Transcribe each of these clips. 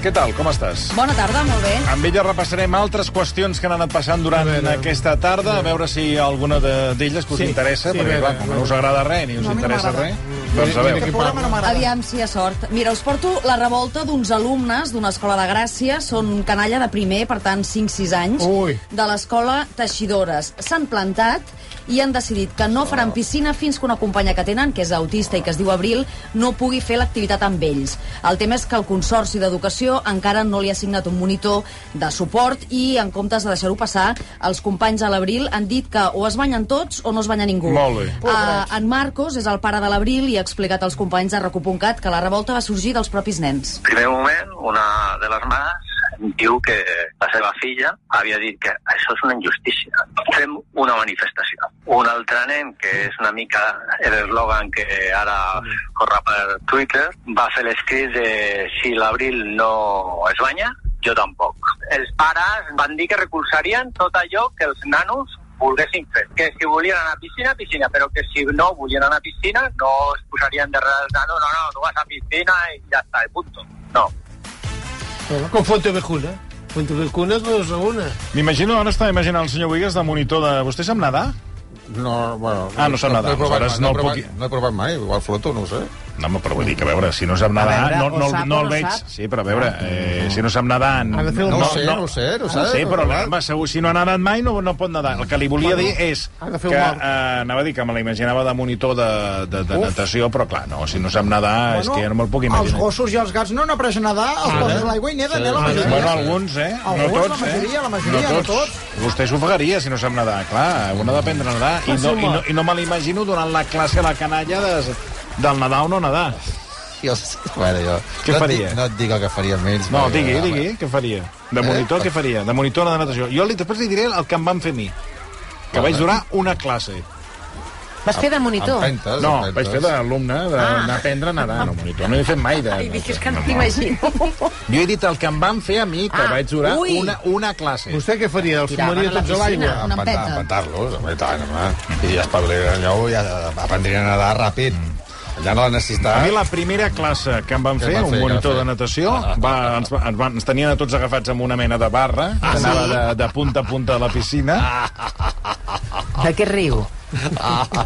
què tal? Com estàs? Bona tarda, molt bé. Amb ella repassarem altres qüestions que han anat passant durant A veure. aquesta tarda, a veure si hi ha alguna de- d'elles que us Sí, interessa, sí, a perquè veure, clar, a com que veure. no us agrada res ni us No, a mi no interessa m'agrada. res, doncs a Mira veure. que parla. Aviam si hi ha sort. Mira, us porto la revolta d'uns alumnes d'una escola de Gràcia. Són canalla de primer, per tant, 5-6 anys, Ui. de l'escola Teixidores. S'han plantat i han decidit que no Oh. faran piscina fins que una companya que tenen, que és autista i que es diu Abril, no pugui fer l'activitat amb ells. El tema és que el Consorci d'Educació encara no li ha signat un monitor de suport i, en comptes de deixar-ho passar, els companys a l'Abril han dit que o es banyen tots o no es banya ningú. Molt bé. Uh, en Marcos és el pare de l'Abril i ha explicat als companys de Recu.cat que la revolta va sorgir dels propis nens. primer moment, una de les mares diu que la seva filla havia dit que això és una injustícia. Fem una manifestació. Un altre nen, que és una mica l'eslògan que ara corre per Twitter, va fer l'escrit de si l'abril no es banya, jo tampoc. Els pares van dir que recolzarien tot allò que els nanos volguessin fer. Que si volien anar a piscina, piscina, però que si no volien anar a piscina, no es posarien darrere dels nanos, no, no, tu vas a piscina i ja està, i punto. No, Con Fuente Vejuna. Fuente Vejuna es dos a una. M'imagino, ara estava imaginant el senyor Boigues de monitor de... Vostè sap nadar? No, bueno... Ah, no sap no, nedar, he provat aleshores mai, no, no el he provat, puc- no he provat mai, igual floto, no ho sé. No, home, però vull dir que a veure, si no sap nedar, veure, no, o no, sap no o el no veig. sap? Ah. Sí, però a veure, eh, si no sap nedar... Ha de fer el- no, No ho sé, no ho sé, no ho no sabe, sé, no però ho sap. home, segur, si no ha nedat mai no, no pot nedar. El que li volia dir és ha de que, fer un eh, mal. anava a dir que me la imaginava de monitor de, de, de natació, però clar, no, si no sap nedar és que ja no me'l puc els imaginar. Ah, gossos i els gats no no aprenen a nedar, els poses a l'aigua i neden, eh, la majoria. Bueno, alguns, eh? Alguns, no la tots, majoria, eh? la majoria, no tots. Vostè s'ofegaria si no sap nedar, clar, un ha d'aprendre a nedar. I no, i no, i no me l'imagino donant la classe a la canalla de, del nedar o no nedar. Jo, bueno, jo... Què no et faria? dic- No et dic el que faria amb ells. No, perquè- digui, digui, què faria? De monitor, què faria? De monitor de natació. Jo li, després li diré el que em van fer a mi, que vaig durar una classe. Vas fer de monitor. Empentes, No, empentes. vaig fer d'alumne, Ah. d'aprendre a nedar. No, monitor, no he fet mai de... no, no. Jo he dit el que em van fer a mi, que Ah, vaig durar ui. una, una classe. Vostè què faria? Els Tiraven fumaria a la tots a l'aigua? piscina. Una Empentar- empenta. Empentar-los, home, i tant, home. I ja es parlaria allò, ja aprendrien a nedar ràpid. Ja no la A mi necessitarà. la primera classe que em van Que fer, van fer, un que monitor van de fer. natació, va, ens, va- ens, van, ens tenien a tots agafats amb una mena de barra, que anava de, de punta a punta de la piscina. De què riu?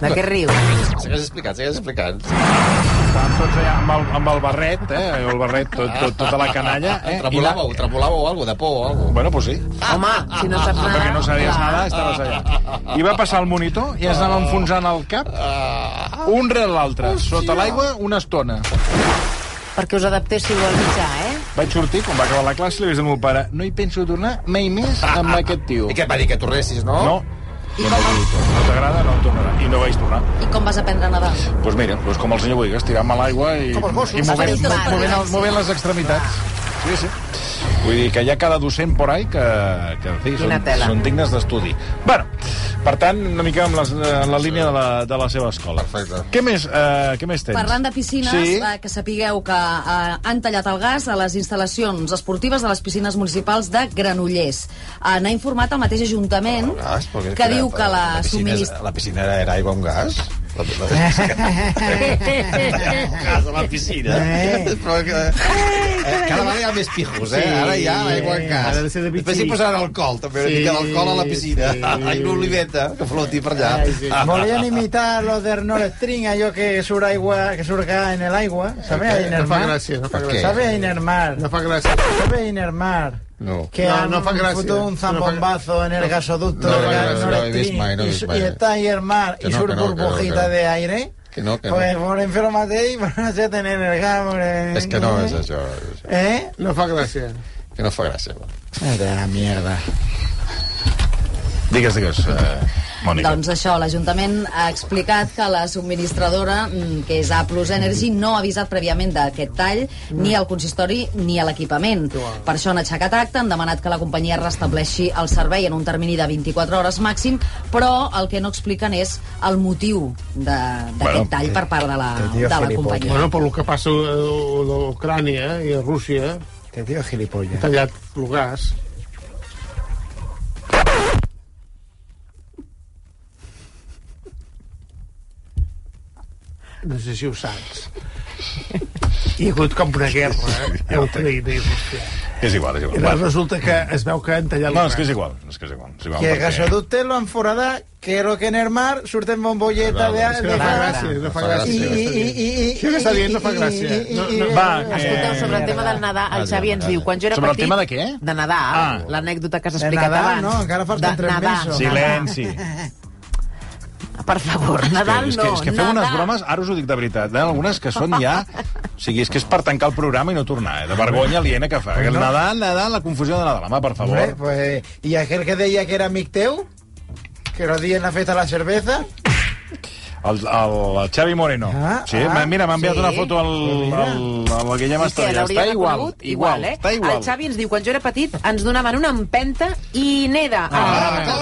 De què riu? Segueix explicant, segueix explicant. Estàvem tots allà amb el, amb el barret, eh? El barret, tot, tot, tota la canalla. Eh? I Tremolàveu, la- tremolàveu alguna cosa, de por o alguna Bueno, pues sí. Home, si no saps nedar... Perquè no sabies Ah. nada, estaves allà. I va passar el monitor i ens anava enfonsant el cap, Ah. un rel l'altre, sota l'aigua, una estona. Perquè us adaptéssiu al mitjà, eh? Vaig sortir, quan va acabar la classe, li vaig dir al meu pare, no hi penso tornar mai més amb aquest tio. I què et va dir, que tornessis, no? No. I No, com no, no t'agrada, no tornarà. I no vaig tornar. I com vas aprendre a nedar? Doncs pues mira, pues com el senyor Boigas, tirant-me a l'aigua i, Com els gossos. i movent, Saben totes. movent, el, movent les extremitats. Sí, sí. Vull dir que hi ha cada docent por ahí que, que en fi, són, Quina tela. són dignes d'estudi. bueno, per tant, una mica amb les, en la línia de la, de la seva escola. Perfecte. Què més, eh, què més tens? Parlant de piscines, Sí. sí. eh, que sapigueu que eh, han tallat el gas a les instal·lacions esportives de les piscines municipals de Granollers. Eh, N'ha informat el mateix Ajuntament Gas, perquè- que diu que la, la piscina, és- subministra... Eh, La piscina era, era aigua amb gas? La, la, gas a la piscina. Eh. Però que, eh, cada vegada hi ha més pijos, eh? Sí. Ara hi ha aigua amb gas. Ha de ser de Després hi bitxí. posaran alcohol, també, una Sí, mica d'alcohol a la piscina. sí. Sí. Aigua oliveta, que floti per allà. Ai, sí. Volien imitar lo de Nord String, allò que surt aigua, que surt gas en el aigua, ¿sabes? Ahí en el No fa mar. gràcia, no fa Per gràcia. ¿Sabes? Ahí en el mar. No fa gràcia. ¿Sabes? Ahí en el mar. No. Que No, han no fa gràcia. fotut un No fa- zambombazo en el gasoducto No del fa gas gràcia, Nord no he vist Stream mai, no he y vist su- mai. y está ahí el mar Que y no, sur que no, que no, que burbujita no. de aire. Que no, que no. Pues por enfermate y por no se tener el gas. por- És que no és això, és això. ¿Eh? Ah, No fa gràcia. que no fa gràcia. va. Vete a la mierda. Digues, digues. Eh, Mònica. Doncs això, l'Ajuntament ha explicat que la subministradora, mm, que és A Plus Energy, no ha avisat prèviament d'aquest tall ni al consistori ni a l'equipament. Per això han aixecat acte, han demanat que la companyia restableixi el servei en un termini de 24 hores màxim, però el que no expliquen és el motiu de- d'aquest Bueno, tall per part de la, de la companyia. Bueno, per lo que passa eh, a l'Ucrània i a Rússia, Te digo gilipollas. tallat el gas. No sé si ho saps. Hi ha hagut com una guerra eh, a Ucraïna i Rússia. És igual, és I igual. llavors Va. resulta que es veu que han tallat No, és que és igual. És que és igual. És igual Que el perquè- gasoducte lo han foradat, que lo que en el mar surten bombolletas de, És que no de fa fagara. gràcia, no fa fa I, gràcia. gràcia. i, i, i, i, Això que està dient no fa i- gràcia. i- i- No, i- no. Va, Eh, Escolteu, que... sobre el tema del Nadal, el Xavi ens diu, quan jo era Sobre el petit... tema de què? De Nadal, Ah. l'anècdota que s'ha De explicat Nadal, abans. no, encara falten De tres Nadal, mesos. Nadal. Silenci. Per favor, Nadal és, no. que, és que feu Nadal. unes bromes, ara us ho dic de veritat, eh? algunes que són ja... O sigui, és que és per tancar el programa i no tornar, eh? de vergonya aliena que fa. El Nadal, Nadal, la confusió de Nadal. Home, per Hombre, favor. pues, I aquell que deia que era amic teu, que lo di en la festa de la cerveza, El, el, el Xavi Moreno. Ah, sí, ah, ah, mira, m'ha enviat sí. una foto al, al, al Guillem I què, Estrella. l'hauria Està igual, reconegut? igual, eh? està igual. El Xavi ens diu, quan jo era petit, ens donaven una empenta i neda. Ah, ah, ah,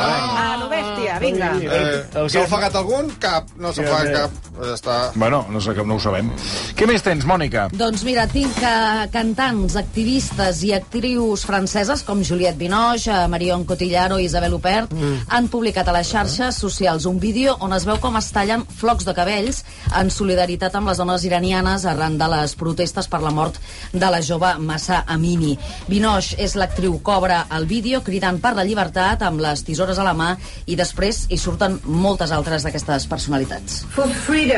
ah, a lo bèstia, vinga. Eh, S'ha ofegat algun? Cap. No s'ha ofegat cap. Està... Bueno, no sé, no ho sabem. Què més tens, Mònica? Doncs mira, tinc que cantants, activistes i actrius franceses com Juliette Binoche, eh, Marion Cotillard o Isabel Huppert han publicat a les xarxes socials un vídeo on es veu com es tallen flocs de cabells en solidaritat amb les dones iranianes arran de les protestes per la mort de la jove Massa Amini. Binoche és l'actriu cobra el vídeo cridant per la llibertat amb les tisores a la mà i després hi surten moltes altres d'aquestes personalitats. for freedom.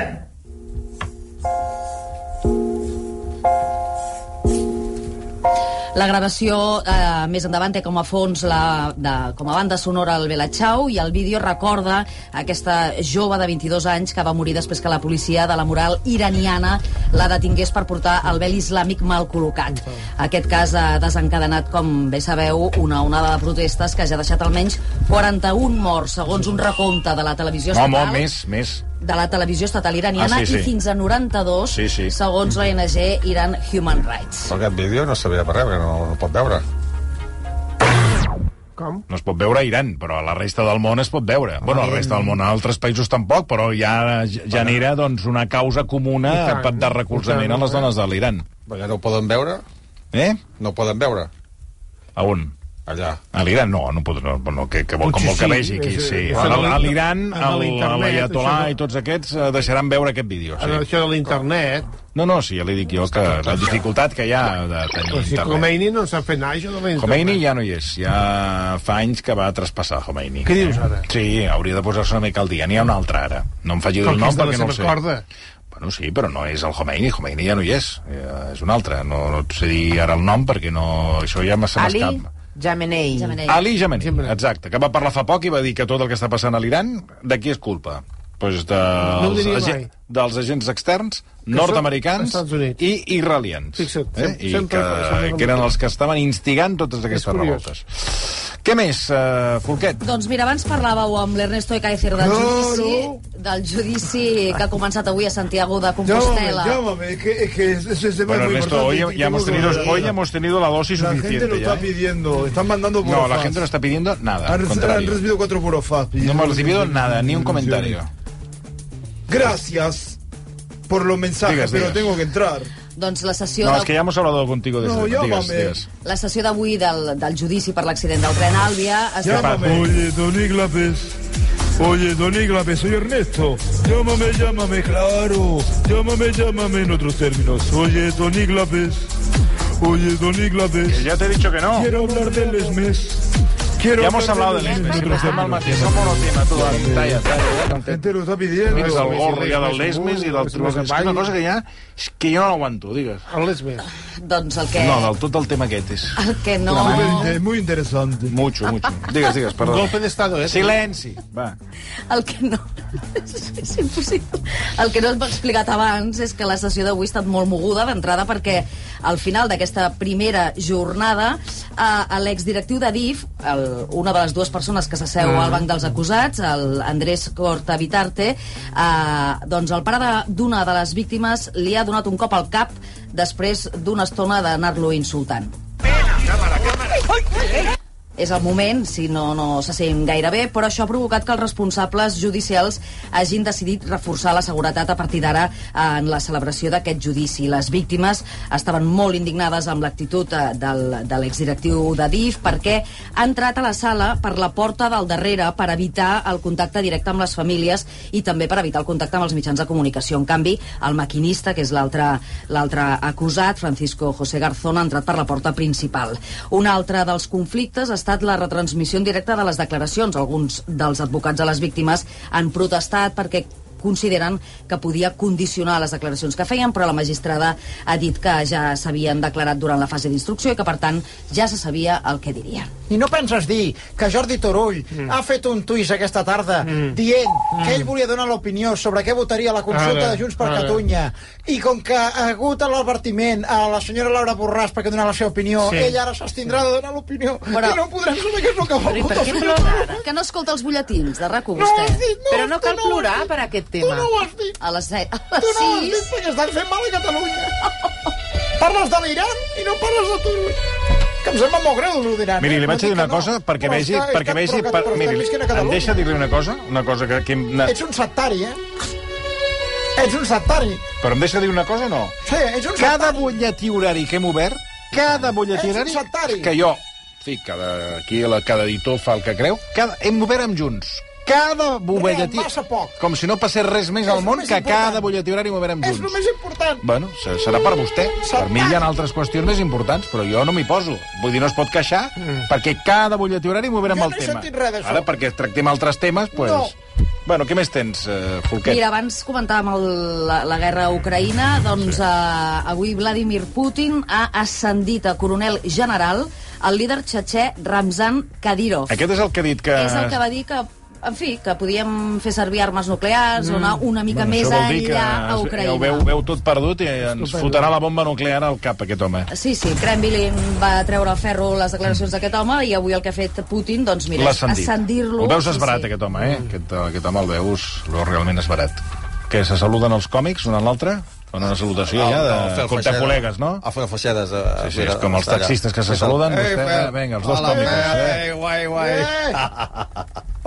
La gravació eh, més endavant té com a fons la, de, com a banda sonora el Bela Chao i el vídeo recorda aquesta jove de 22 anys que va morir després que la policia de la moral iraniana la detingués per portar el vel islàmic mal col·locat. Aquest cas ha desencadenat, com bé sabeu, una onada de protestes que ja ha deixat almenys 41 morts, segons un recompte de la televisió No, estatal no, més, més. de la televisió estatal iraniana Ah, sí, sí. i fins a 92, Sí, sí. segons l'ONG Iran Human Rights. Però aquest vídeo no servirà per res, perquè no, no pot veure. Com? No es pot veure a Iran, però a la resta del món es pot Ah, veure. bueno, a la resta del món, a altres països tampoc, però ja genera doncs, una causa comuna I tant. per- de recolzament a les dones de l'Iran. Perquè no ho poden veure, Eh? no ho poden veure. A on? Allà. A l'Iran no, no, pot, no, no que, que vol, com Potser vol que sí, vegi aquí, és- sí. és- A la- a l'Iran, en l'internet, això l'Aiatolà no. i tots aquests eh, deixaran veure aquest vídeo. En Sí. Ah, això de l'internet, No, no, sí, ja li dic jo que la dificultat que hi ha de tenir o si internet. Khomeini no s'ha fet anar això de l'internet. Khomeini ja no hi és, ja fa anys que va traspassar Khomeini. Què dius ara? Sí, hauria de posar-se una mica al dia. N'hi ha un altre ara. No em faci dir Com el que nom és de la perquè no el seva sé. corda. Bueno, sí, però no és el Khomeini. Khomeini ja no hi és. Eh, és un altre. No, no et sé dir ara el nom perquè no... això ja m'ha- se Ali m'escapa. Jamenei. Jamenei. Ali Jamenei, Sempre. exacte, que va parlar fa poc i va dir que tot el que està passant a l'Iran, de qui és culpa? Pues de, ho diria mai. dels agents externs, són nord-americans Estats Units. i israelians. Fixa't, eh? sempre- I sempre- que, sempre- que eren els que estaven instigant totes aquestes curiós. revoltes. Què més, uh, Folquet? Doncs mira, abans parlàveu amb l'Ernesto Ecaizer del judici, del judici que ha començat avui a Santiago de Compostela. llámame, que, que ese tema Bueno, Ernesto, hoy, ya hemos tenido, hoy ya hemos tenido la dosis suficiente. ya, ¿eh? pidiendo, están mandando No, la gente no está pidiendo nada. al contrario. cuatro burofas. No hemos recibido nada, ni un comentario. Gracias por los mensajes, Digas, pero digas. tengo que entrar. Doncs la sessió, No, es que de, ya hemos hablado contigo desde No, llámame. digas, digas. la sessió d'avui del, del judici per l'accident del tren Àlvia ha estat Oye, don Iglapes. Oye, don Iglapes, soy Ernesto. Llámame, llámame, claro. Llámame, llámame en otros términos. Oye, don Iglapes. Oye, don Iglapes. Ya te he dicho que no. Quiero hablar del lesmes. Quiero Ya Ah, hemos hablar hablado del del Esme. lesmes en otros Estem al términos. matí, som monotema, tu, Dani. Talla, talla. ja, La que gente lo está pidiendo. Mires el gorro ja del Lesmes i del Tribunal. És que és una cosa que ja... És que jo no l'aguanto, digues. El lesmes. doncs el que, No, del tot el tema aquest és... el que no... muy interesante. Mucho, mucho. Digues, digues, Un perdó. golpe de estado, ¿eh? Silenci, va. El que no... És impossible. El que no hem explicat abans és que la sessió d'avui ha estat molt moguda d'entrada perquè al final d'aquesta primera jornada eh, l'exdirectiu de DIF, el una de les dues persones que s'asseu al banc dels acusats, el Andrés Corta Vitarte, eh, doncs el pare de- d'una de, de les víctimes li ha donat un cop al cap després d'una estona d'anar-lo insultant. És el moment, si no, no se sent gaire bé, però això ha provocat que els responsables judicials hagin decidit reforçar la seguretat a partir d'ara eh, en la celebració d'aquest judici. Les víctimes estaven molt indignades amb l'actitud eh, del, de l'exdirectiu de DIF perquè ha entrat a la sala per la porta del darrere per evitar el contacte directe amb les famílies i també per evitar el contacte amb els mitjans de comunicació. En canvi, el maquinista, que és l'altre l'altre acusat, Francisco José Garzón, ha entrat per la porta principal. Un altre dels conflictes ha estat la retransmissió en directe de les declaracions. Alguns dels advocats de les víctimes han protestat perquè consideren que podia condicionar les declaracions que feien, però la magistrada ha dit que ja s'havien declarat durant la fase d'instrucció i que, per tant, ja se sabia el que dirien. I no penses dir que Jordi Turull mm. ha fet un tuit aquesta tarda mm. dient mm. que ell volia donar l'opinió sobre què votaria la consulta Ara, ara, de Junts per ara. ara. Catalunya i com que ha hagut l'advertiment a la senyora Laura Borràs perquè donar la seva opinió, Sí. sí. ella ara s'abstindrà de donar l'opinió Però- i no podrem saber què és el que vol votar. el senyor Turull. Que no escolta els butlletins de RAC1, No ho has vostè. dit, no, Però no cal tu ho has plorar dit. per aquest Tu tema. no ho has dit. A les, set- a Tu les no ho has 6... dit perquè estan fent mal a Catalunya. Parles de l'Iran i no parles de Turull. Que em sembla molt greu, lo d'Iran. Miri, eh? li No vaig dir que una cosa perquè Però vegi... està- Perquè està- vegi però que- per, però està miri, visquent a em Catalunya. deixa dir-li una cosa? Una cosa que... que hem anat- Ets un sectari, eh? Ets un sectari. Però em deixa dir una cosa o no? Sí, ets un Cada sectari. butlletí horari que hem obert, cada butlletí Ets un horari sectari. que jo... Sí, cada, aquí la, cada editor fa el que creu. Cada, hem obert amb junts. Cada butlletí... massa poc. Com si no passés res més És al el món més que important. cada butlletí horari ho obert amb És el junts. més important. Bueno, se- serà per vostè. Per mi hi ha altres qüestions més importants, però jo no m'hi poso. Vull dir, no es pot queixar, perquè cada butlletí horari moverem Mm. Jo el no he tema. sentit res d'això. Ara, perquè tractem altres temes, doncs... Bueno, què més tens, eh, Folquet? Mira, abans comentàvem el, la, la guerra a Ucraïna, doncs eh, avui Vladimir Putin ha ascendit a coronel general el líder txetxè Ramzan Kadyrov. Aquest és el que ha dit que... És el que va dir que en fi, que podíem fer servir armes nuclears mm. o anar una mica més això vol dir que enllà a es- Ucraïna. Ja ho veu, veu tot perdut i ens fotrà la bomba nuclear al cap, aquest home. eh? Sí, sí, Kremlin va treure a ferro les declaracions d'aquest home i avui el que ha fet Putin, doncs mira, Mm. L'ha és ascendir-lo. Ho veus Sí, esbarat, sí. aquest home, eh? Aquest, aquest home el veus lo realment esbarat. Que se saluden els còmics, un a l'altre? Fan una salutació ja de, fer el compte feixeda. col·legues, no? A eh, fer feixedes. A, a, Sí, sí, és com els taxistes que se saluden. Vostè, eh, vinga, els dos còmics. Eh? guai, guai. Ah,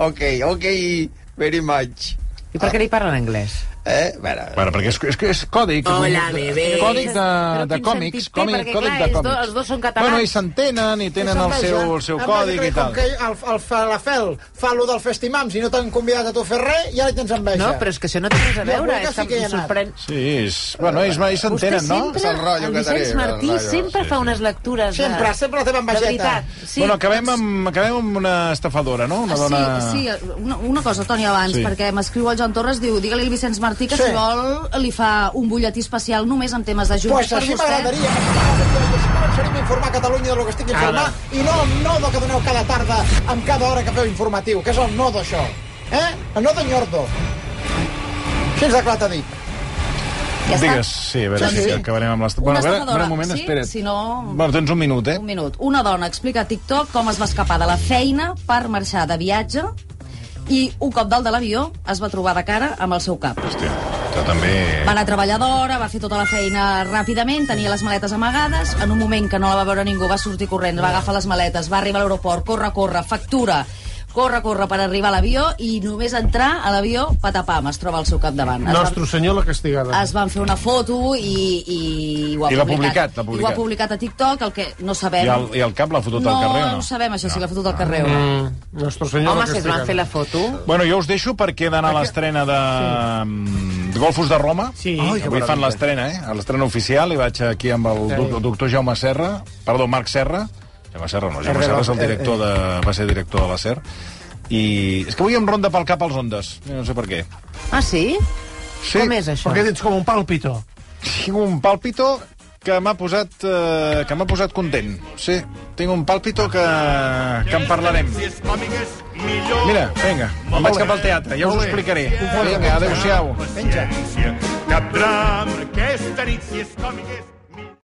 Eh, ok, ok, very much. I per què li parlen anglès? Eh? A veure, Bueno, perquè és, és, és còdic. Hola, vull dir, bebés. Còdic de, Però de quin còmics. sentit té? Còmic, Perquè, còdic clar, de ells còmics. dos- els dos són catalans. Bueno, i s'entenen i tenen el seu, el eh? seu còdic i tal. Com que el, el, el, la Fel fa allò del Festimams i no t'han convidat a tu a fer res, ja tens enveja. No, però és que això no té res a Jo veure. avui És que sí que que hi he em anat. sorprèn... Sí, és, bueno, ells, ells s'entenen, no? Vostè És el sempre, rotllo el que Vicenç tenim, Martí, el rotllo, sempre sí, fa sí. unes lectures de... Sempre, sempre la teva De envejeta. veritat. Sí. Bueno, acabem amb, acabem amb una estafadora, no? Una dona... Ah, Sí, sí, una, una cosa, Toni, abans, Sí. sí. perquè m'escriu el Joan Torres, diu, digue-li al Vicenç Martí que Sí. sí. si vol li fa un butlletí especial només en temes de Doncs junts pues així m'agradaria que començarem a informar Catalunya del que estic informant i no el nodo que doneu cada tarda amb cada hora que feu informatiu, que és el nodo, això. Eh? El nodo nyordo. Així ens ha clar t'ha dit. Ja està. Digues, sí, a veure Sí, si sí. acabarem amb l'estafadora. Una a veure, a veure, estafadora, un moment, sí? espera't. Si no- Bueno, tens un minut, eh? Un minut. Una dona explica a TikTok com es va escapar de la feina per marxar de viatge i un cop dalt de l'avió es va trobar de cara amb el seu cap. Hòstia, això també... Eh. Va anar a treballar d'hora, va fer tota la feina ràpidament, tenia les maletes amagades, en un moment que no la va veure ningú va sortir corrents, va agafar les maletes, va arribar a l'aeroport, corre, corre, factura, corre, corre per arribar a l'avió i només entrar a l'avió, patapam, es troba al seu capdavant. Es Nostre senyor la castigada. es van fer una foto i, i, ho ha I l'ha publicat, l'ha I ho publicat. ha publicat a TikTok, el que no I sabem... el, I el cap l'ha fotut no, al carrer, o no no? sabem això, si l'ha fotut al carrer o no. Mm, nostre senyor Home, la si es van castigada. fer la foto... Bueno, jo us deixo perquè he d'anar a l'estrena de... de Golfos de Roma. Sí. Ai, Avui fan l'estrena, eh? A L'estrena oficial, i vaig aquí amb el doc- doctor Jaume Serra, perdó, Marc Serra, Jaume Serra no, Jaume Serra és el director de... va ser director de la SER, i és que avui em ronda pel cap els ondes, no sé per què. Ah, sí? Sí, Com és això? Perquè ets com un pàlpito. Tinc un pàlpito que m'ha posat, eh, que m'ha posat content. Sí, tinc un pàlpito que, que en parlarem. Mira, vinga, em vaig cap al teatre, ja us ho explicaré. Vinga, adeu-siau. Cap drama, aquesta nit, si és còmic, és...